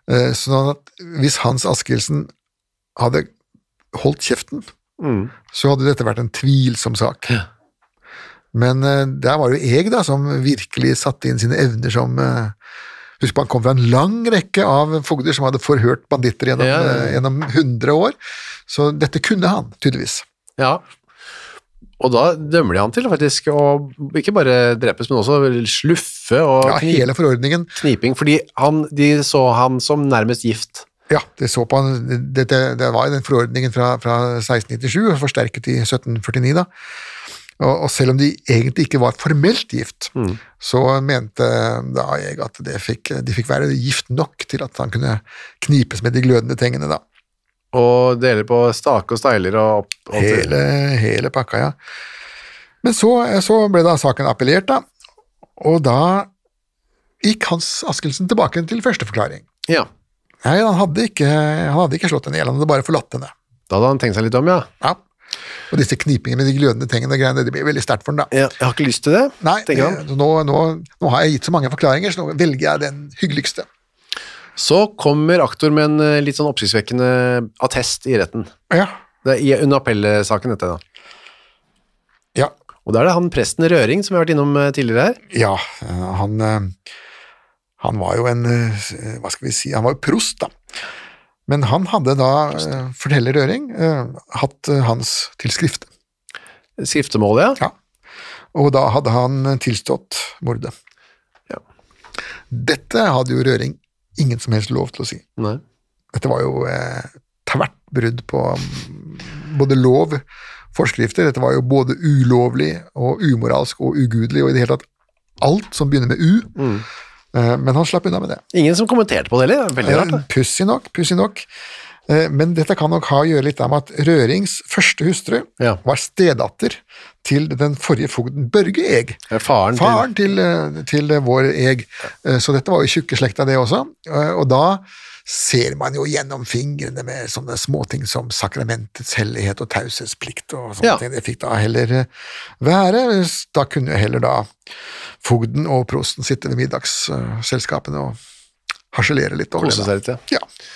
Speaker 3: Eh, Sånn at hvis Hans Askildsen hadde holdt kjeften,
Speaker 2: Mm.
Speaker 3: så hadde dette vært en tvilsom sak. Men eh, der var det jo jeg da, som virkelig satte inn sine evner som eh, Husk på, han kom fra en lang rekke av fogder som hadde forhørt banditter gjennom,
Speaker 2: Ja, ja, ja.
Speaker 3: eh, gjennom 100 år, så dette kunne han, tydeligvis.
Speaker 2: Ja. Og da dømmer de han til faktisk å ikke bare drepes, men også sluffe og
Speaker 3: Ja,
Speaker 2: kni-
Speaker 3: hele forordningen
Speaker 2: kniping, fordi han, de så han som nærmest gift.
Speaker 3: Ja, det, så på, han- det, det, det var jo den forordningen fra, fra 1697, forsterket i 1749, da. Og, og selv om de egentlig ikke var formelt gift, så mente da jeg at det fikk, de fikk være gift nok til at han kunne knipes med de glødende tingene, da.
Speaker 2: Og deler på stake og steiler og opp, alt det.
Speaker 3: Hele, hele pakka, ja. Men så, så ble da saken appellert, da. Og da gikk Hans Askelsen tilbake til første forklaring.
Speaker 2: Ja.
Speaker 3: Nei, han hadde ikke, han hadde ikke slått henne i hjel, han hadde bare forlatt henne.
Speaker 2: Da hadde han tenkt seg litt om, ja.
Speaker 3: Ja. Og disse knipingene med de glødende tingene og greiene, det blir veldig sterkt for den da.
Speaker 2: ja. Jeg har ikke lyst til det,
Speaker 3: Nei, eh,
Speaker 2: tenker han.
Speaker 3: så nå, nå, nå har jeg gitt så mange forklaringer, så nå velger jeg den hyggeligste.
Speaker 2: Så kommer aktor med en eh, litt sånn oppsiktsvekkende attest i retten.
Speaker 3: Ja.
Speaker 2: Det er i- under appellsaken dette da.
Speaker 3: Ja.
Speaker 2: Og da er det han presten Røring som vi har vært innom eh, tidligere her.
Speaker 3: ja eh, han, eh, han var jo en, eh, hva skal vi si, han var jo prost da. Men han hadde da, eh, forteller Røring, eh, hatt eh, hans tilskrift.
Speaker 2: Skriftemålet, ja.
Speaker 3: Ja. Og da hadde han tilstått mordet.
Speaker 2: Ja.
Speaker 3: Dette hadde jo Røring ingen som helst lov til å si.
Speaker 2: Nei.
Speaker 3: Dette var jo eh, tvert brudd på mm, både lov, forskrifter. Dette var jo både ulovlig og umoralsk og ugudelig, og i det hele tatt alt som begynner med U.
Speaker 2: Mm.
Speaker 3: Eh, men han slapp unna med det.
Speaker 2: Ingen som kommenterte på det heller. Det er Veldig rart.
Speaker 3: Eh, Pussig nok, pussig nok. Eh, Men dette kan nok ha å gjøre litt med at Rørings første hustru
Speaker 2: Ja.
Speaker 3: var stedatter til den forrige fogden Børge Eg.
Speaker 2: Det er faren til-
Speaker 3: Faren til, eh, til eh, vår Eg. Eh, Så dette var jo tjukkeslekta, det også. Eh, Og da ser man jo gjennom fingrene med sånne småting som sakramentets hellighet og taushetsplikt og sånne
Speaker 2: Ja.
Speaker 3: ting. Det fikk da heller eh, være. Da kunne jo heller da fogden og prosten sitte ved middagsselskapene og harselere litt over
Speaker 2: Kose
Speaker 3: det. da.
Speaker 2: seg litt, ja.
Speaker 3: Ja.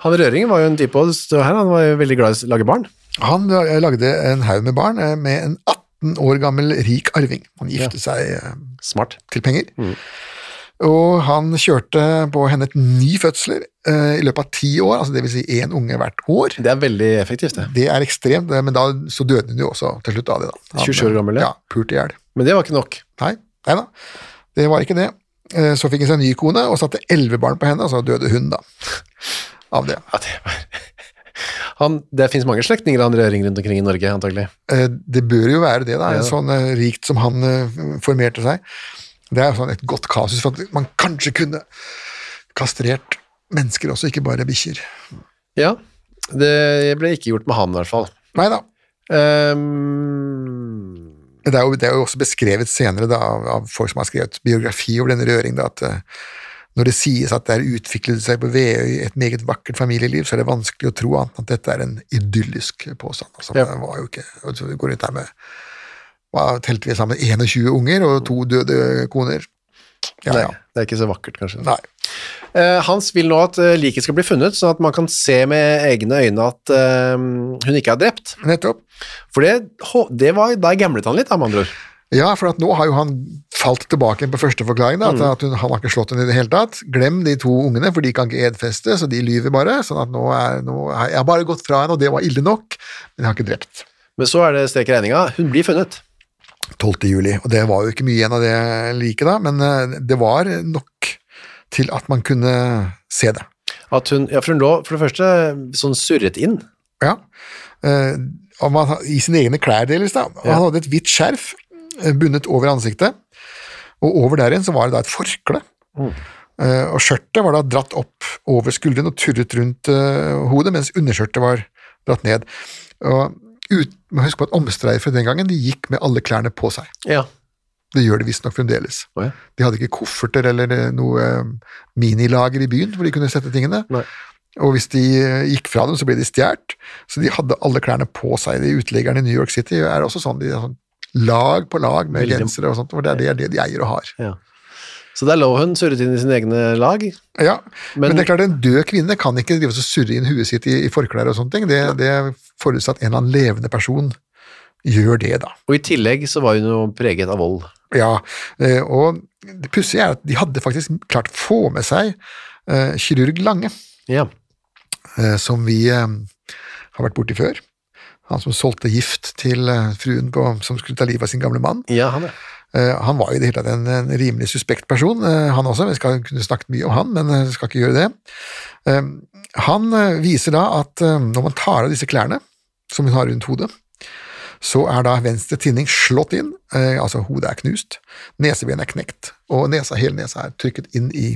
Speaker 2: Han Røringen var jo en type, og det står her, han var jo veldig glad i å lage barn.
Speaker 3: Han la- lagde en haug med barn eh, med en 18 år gammel rik arving. Han gifte seg eh,
Speaker 2: Smart.
Speaker 3: til penger.
Speaker 2: Mm.
Speaker 3: Og han kjørte på henne ni fødsler eh, i løpet av ti år, altså dvs. Si én unge hvert år.
Speaker 2: Det er veldig effektivt, det.
Speaker 3: Det er ekstremt, eh, men da så døde hun jo også til slutt av det. da. Han,
Speaker 2: 27 år gammel, ja.
Speaker 3: ja. Pult i hjel.
Speaker 2: Men det var ikke nok.
Speaker 3: Nei, nei da. Det var ikke det. Eh, Så fikk han seg en ny kone og satte elleve barn på henne, og så døde hun da av det.
Speaker 2: Ja, det var... Han, det finnes mange slektninger av han Røring rundt omkring i Norge, antagelig.
Speaker 3: Eh, Det bør jo være det, da.
Speaker 2: Ja.
Speaker 3: En sånn eh, rikt som han eh, formerte seg. Det er jo sånn et godt kasus for at man kanskje kunne kastrert mennesker også, ikke bare bikkjer.
Speaker 2: Ja, det ble ikke gjort med han i hvert fall.
Speaker 3: Nei da.
Speaker 2: Ehm,
Speaker 3: Det er, jo, det er jo også beskrevet senere da, av, av folk som har skrevet biografi over denne røring, da, at eh, når det sies at der utviklet det seg på Veøy et meget vakkert familieliv, så er det vanskelig å tro annet enn at dette er en idyllisk påstand. Altså,
Speaker 2: Ja.
Speaker 3: Det var jo ikke, og så går rundt her med, hva, telte vi sammen 21 unger og to døde koner? Ja,
Speaker 2: nei,
Speaker 3: ja.
Speaker 2: det er ikke så vakkert, kanskje.
Speaker 3: Nei.
Speaker 2: Eh, Hans vil nå at eh, liket skal bli funnet, sånn at man kan se med egne øyne at eh, hun ikke er drept.
Speaker 3: Nettopp.
Speaker 2: For det, hå- det var, der gamlet han litt, da, med andre ord.
Speaker 3: Ja, for at nå har jo han falt tilbake på første forklaring, da, at, at hun, han har ikke slått henne i det hele tatt. Glem de to ungene, for de kan ikke edfeste, så de lyver bare. sånn at nå er, nå er Jeg har bare gått fra henne, og det var ille nok, men jeg har ikke drept.
Speaker 2: Men så er det strek i regninga. Hun blir funnet.
Speaker 3: 12. juli, og det var jo ikke mye igjen av det liket da, men eh, det var nok til at man kunne se det.
Speaker 2: At hun, ja, for hun lå for det første sånn surret inn.
Speaker 3: Ja. Eh, og man, I sine egne klær, delvis. da. Og Han hadde et hvitt skjerf eh, bundet over ansiktet, og over der igjen så var det da et forkle. Eh, og skjørtet var da dratt opp over skuldrene og turret rundt eh, hodet, mens underskjørtet var dratt ned. Og ut, man husker på at Omstreifere den gangen de gikk med alle klærne på seg.
Speaker 2: Ja.
Speaker 3: Det gjør de visstnok fremdeles.
Speaker 2: Å ja.
Speaker 3: De hadde ikke kofferter eller eh, noe eh, minilager i byen hvor de kunne sette tingene.
Speaker 2: Nei.
Speaker 3: Og hvis de eh, gikk fra dem, så ble de stjålet. Så de hadde alle klærne på seg. De uteliggerne i New York City er også sånn. De er sånn lag på lag med
Speaker 2: Veldig-
Speaker 3: gensere og sånt, for det er det, er det de eier og har.
Speaker 2: Ja. Så der lå hun surret inn i sine egne lag.
Speaker 3: Ja, men,
Speaker 2: Men-
Speaker 3: det er klart, en død kvinne kan ikke drive og surre inn huet sitt i, i forklær og sånne ting. Det, det forutsatt en eller annen levende person gjør det, da.
Speaker 2: Og i tillegg så var hun jo preget av vold.
Speaker 3: Ja, eh, og det pussige er at de hadde faktisk klart å få med seg eh, kirurg Lange,
Speaker 2: Ja.
Speaker 3: eh, som vi eh, har vært borti før. Han som solgte gift til eh, fruen på, som skulle ta livet av sin gamle mann.
Speaker 2: Ja, han er.
Speaker 3: Eh, han var jo i det hele tatt en, en rimelig suspekt person, eh, han også. Vi skal kunne snakket mye om han, men eh, skal ikke gjøre det. Eh, han eh, viser da at eh, når man tar av disse klærne, som hun har rundt hodet, så er da venstre tinning slått inn, eh, altså hodet er knust, nesebenet er knekt, og nesa, hele nesa er trykket inn i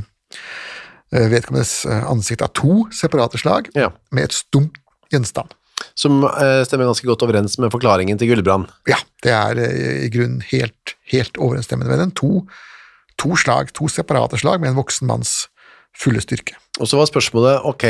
Speaker 3: eh, vedkommendes eh, ansikt av to separate slag
Speaker 2: Ja.
Speaker 3: med et stumt gjenstand.
Speaker 2: Som eh, stemmer ganske godt overens med forklaringen til Gulbrand.
Speaker 3: Ja, det er eh, i grunnen helt, helt overensstemmende med den. To, to slag, to separate slag med en voksen manns fulle styrke.
Speaker 2: Og så var spørsmålet, ok,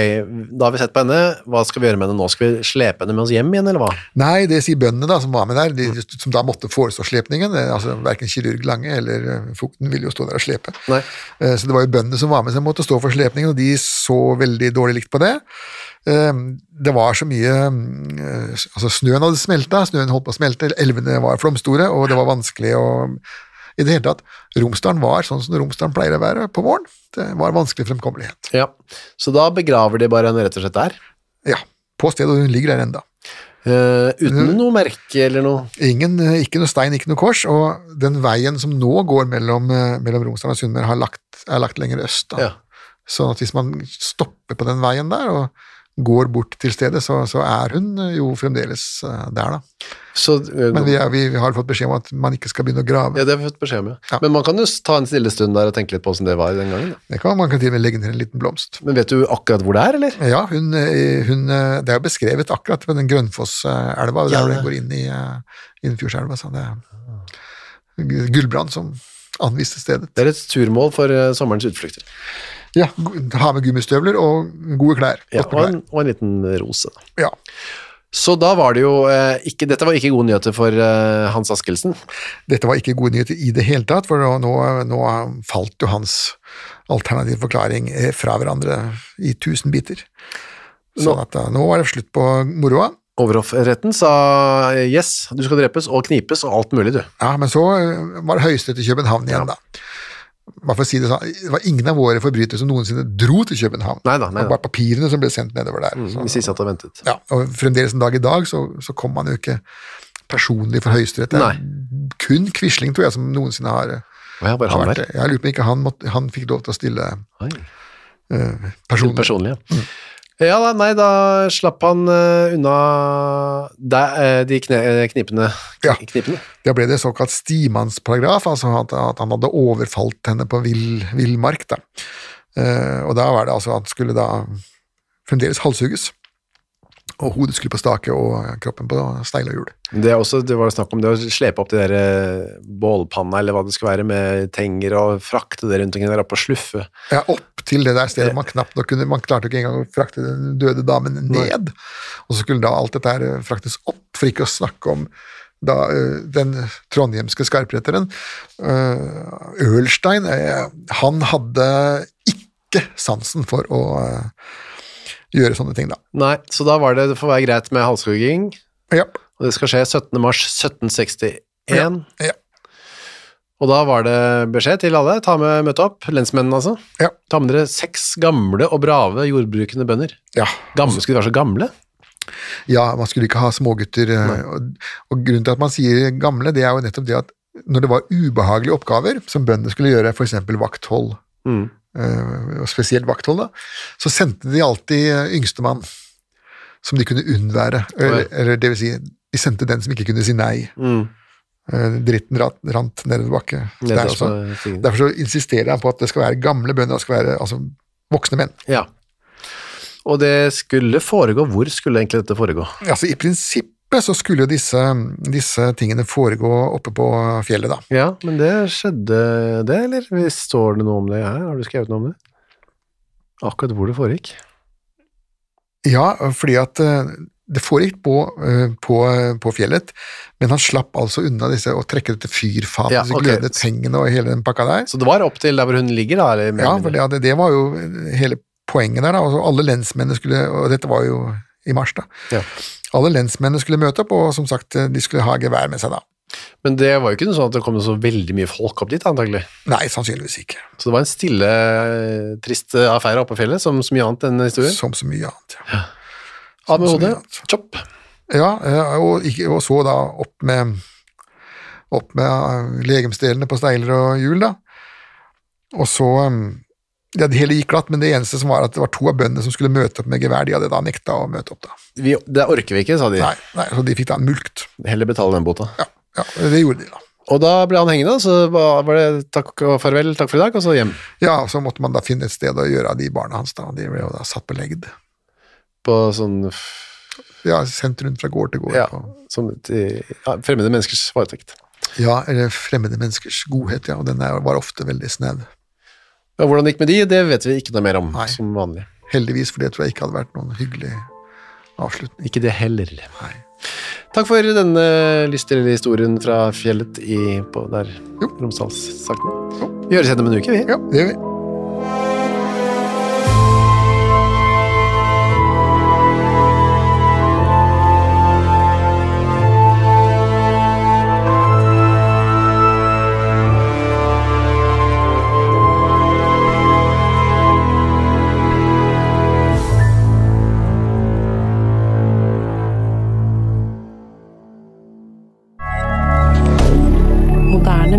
Speaker 2: da har vi sett på henne, hva skal vi gjøre med henne nå? Skal vi slepe henne med oss hjem igjen, eller hva?
Speaker 3: Nei, det sier bøndene da, som var med der, de, som da måtte forestå slepningen. eh, Altså, Verken kirurg Lange eller eh, Fugten ville jo stå der og slepe.
Speaker 2: Nei.
Speaker 3: Eh, Så det var jo bøndene som var med som måtte stå for slepningen, og de så veldig dårlig likt på det. Eh, Det var så mye eh, Altså, snøen hadde smelta, snøen holdt på å smelte, elvene var flomstore, og det var vanskelig å I det hele tatt, Romsdalen var sånn som Romsdalen pleier å være på våren. Det var vanskelig fremkommelighet.
Speaker 2: Ja. Så da begraver de bare henne rett og slett der,
Speaker 3: Ja, på stedet, og hun ligger der enda.
Speaker 2: eh, uten noe merke eller noe.
Speaker 3: Ingen, eh, ikke noe stein, ikke noe kors, og den veien som nå går mellom, eh, mellom Romsdalen og Sunnmøre, har lagt- er lagt lenger øst. Da.
Speaker 2: Ja.
Speaker 3: Sånn at hvis man stopper på den veien der, og går bort til stedet, så, så er hun eh, jo fremdeles eh, der, da.
Speaker 2: Så, eh,
Speaker 3: Men vi, er, vi har fått beskjed om at man ikke skal begynne å grave.
Speaker 2: Ja, det har vi fått beskjed om, ja.
Speaker 3: Ja.
Speaker 2: Men man kan jo s- ta en stille stund der og tenke litt på hvordan det var den gangen. Da.
Speaker 3: Det kan, man kan til og med legge ned en liten blomst.
Speaker 2: Men vet du akkurat hvor det er, eller?
Speaker 3: Ja, hun, eh, hun, eh, det er jo beskrevet akkurat ved den Grønfosselva, der
Speaker 2: Ja,
Speaker 3: hvor
Speaker 2: det-
Speaker 3: den går inn i eh, Innfjordselva. Så det er Gullbrand som anviste stedet.
Speaker 2: Det er et turmål for eh, sommerens utflukter.
Speaker 3: Ja, go- ha med gummistøvler og gode klær.
Speaker 2: Ja,
Speaker 3: Godt
Speaker 2: og,
Speaker 3: med
Speaker 2: en, og en liten rose. da.
Speaker 3: klær. Ja.
Speaker 2: Så da var det jo eh, ikke, Dette var ikke gode nyheter for eh, Hans Askelsen.
Speaker 3: Dette var ikke gode nyheter i det hele tatt, for nå, nå- nå falt jo hans alternative forklaring eh, fra hverandre i tusen biter. Sånn at da, nå var det slutt på moroa.
Speaker 2: Overhoffretten sa eh, yes, du skal drepes og knipes og alt mulig, du.
Speaker 3: Ja, men så eh, var det Høyesterett i København igjen, da. Bare for å si Det sånn, det var ingen av våre forbrytere som noensinne dro til København.
Speaker 2: Neida,
Speaker 3: Det
Speaker 2: neida.
Speaker 3: var bare papirene som ble sendt nedover der. Så-
Speaker 2: Mm, Vi sier at det ventet.
Speaker 3: ja, og fremdeles en dag i dag så, så kom man jo ikke personlig for høyesterett. Det er kun Quisling, tror jeg, som noensinne har, eh,
Speaker 2: Å ja, bare
Speaker 3: har
Speaker 2: han
Speaker 3: vært
Speaker 2: der.
Speaker 3: det. Jeg lurer på om ikke han, måtte, han fikk lov til å stille eh,
Speaker 2: Oi,
Speaker 3: personlig.
Speaker 2: Personlig, ja. Ja da, nei, da slapp han eh, unna deg, eh, de kne, eh, knipene.
Speaker 3: Ja.
Speaker 2: knipene.
Speaker 3: Da ble det såkalt stimannsparagraf, altså at, at han hadde overfalt henne på vill, villmark. Da. Eh, og da var det altså at han skulle da fremdeles halshugges. Og hodet skulle på stake og kroppen på steil og hjul.
Speaker 2: Det, er også, det var snakk om det å slepe opp de der eh, bålpanna eller hva det skulle være med tenger og frakte det rundt omkring der oppe og sluffe.
Speaker 3: Ja, opp til det der stedet man knapt nok kunne Man klarte ikke engang å frakte den døde damen ned. Og så skulle da alt dette her eh, fraktes opp, for ikke å snakke om da eh, den trondhjemske skarpretteren, eh, Ørnstein, eh, han hadde ikke sansen for å eh, gjøre sånne ting, da.
Speaker 2: Nei, så da var det det får være greit med halshugging,
Speaker 3: Ja.
Speaker 2: og det skal skje 17. mars 1761.
Speaker 3: Ja.
Speaker 2: Og da var det beskjed til alle, ta med møte opp, lensmennene altså.
Speaker 3: Ja.
Speaker 2: Ta med dere seks gamle og brave jordbrukende bønder.
Speaker 3: ja.
Speaker 2: Gamle skulle de være så gamle.
Speaker 3: Ja, man skulle ikke ha smågutter. eh, Og, og grunnen til at man sier gamle, det er jo nettopp det at når det var ubehagelige oppgaver som bøndene skulle gjøre, f.eks. vakthold,
Speaker 2: Mm,
Speaker 3: eh, og spesielt vakthold, da, så sendte de alltid eh, yngstemann, som de kunne unnvære. Eller, eller det vil si, de sendte den som ikke kunne si nei. Eh, Dritten rant, rant nedover bakke.
Speaker 2: Nedover
Speaker 3: Der også.
Speaker 2: stigen.
Speaker 3: sånn. Derfor så insisterer han på at det skal være gamle bønder, det skal være altså, voksne menn.
Speaker 2: Ja. Og det skulle foregå, hvor skulle egentlig dette foregå?
Speaker 3: Altså, I prinsippet så skulle jo disse, disse tingene foregå oppe på fjellet, da.
Speaker 2: Ja, men det skjedde det, eller står det noe om det her? Har du skrevet noe om det? Akkurat hvor det foregikk?
Speaker 3: Ja, fordi at eh, det foregikk på, eh, på, på fjellet, men han slapp altså unna disse og trekke dette fyrfatet,
Speaker 2: Ja,
Speaker 3: disse
Speaker 2: ok.
Speaker 3: glødende tengene og hele den pakka der.
Speaker 2: Så det var opp til der hvor hun ligger, da? Eller, mer
Speaker 3: Ja,
Speaker 2: eller
Speaker 3: for
Speaker 2: mindre?
Speaker 3: det, ja, det, det var jo eh, hele poenget der, da. Altså, alle lensmennene skulle Og dette var jo i mars, da.
Speaker 2: Ja.
Speaker 3: Alle lensmennene skulle møte opp, og som sagt, eh, de skulle ha gevær med seg, da.
Speaker 2: Men det var jo ikke noe sånn at det kom så veldig mye folk opp dit, antagelig.
Speaker 3: Nei, sannsynligvis ikke.
Speaker 2: Så det var en stille, eh, trist eh, affære oppe på fjellet, som så mye annet enn historien.
Speaker 3: Som så mye annet, ja.
Speaker 2: Av med
Speaker 3: som
Speaker 2: hodet,
Speaker 3: mye annet.
Speaker 2: chopp.
Speaker 3: Ja, eh, og, ikke- og så da opp med, opp med eh, legemsdelene på steiler og hjul, da. Og så, eh, Ja, det hele gikk glatt, men det eneste som var at det var to av bøndene som skulle møte opp med gevær. De hadde da nekta å møte opp, da.
Speaker 2: Vi, det orker vi ikke, sa de.
Speaker 3: Nei, nei, så de fikk da en mulkt.
Speaker 2: Heller betale den bota.
Speaker 3: Ja, ja, det gjorde de, da.
Speaker 2: Og da ble han hengende, så var var det takk og farvel, takk for i dag, og så hjem
Speaker 3: Ja, så måtte man da finne et sted å gjøre av de barna hans, da. De ble jo da satt på legd.
Speaker 2: på sånn
Speaker 3: Ja, sendt rundt fra gård til gård.
Speaker 2: ja,
Speaker 3: på-
Speaker 2: som, til, ja, fremmede menneskers varetekt.
Speaker 3: ja eller fremmede menneskers godhet, ja, og den er, var ofte veldig snev.
Speaker 2: Ja, hvordan det gikk med de, det vet vi ikke noe mer om,
Speaker 3: Nei.
Speaker 2: som vanlig.
Speaker 3: Heldigvis, for det tror jeg ikke hadde vært noen hyggelig avslutning.
Speaker 2: Ikke det heller.
Speaker 3: Nei.
Speaker 2: Takk for denne lystige historien fra fjellet i, på der
Speaker 3: Jo.
Speaker 2: Romsdalssakene.
Speaker 3: Jo.
Speaker 2: Vi høres igjen om en uke, vi.
Speaker 3: Ja, det gjør vi.
Speaker 4: Moderne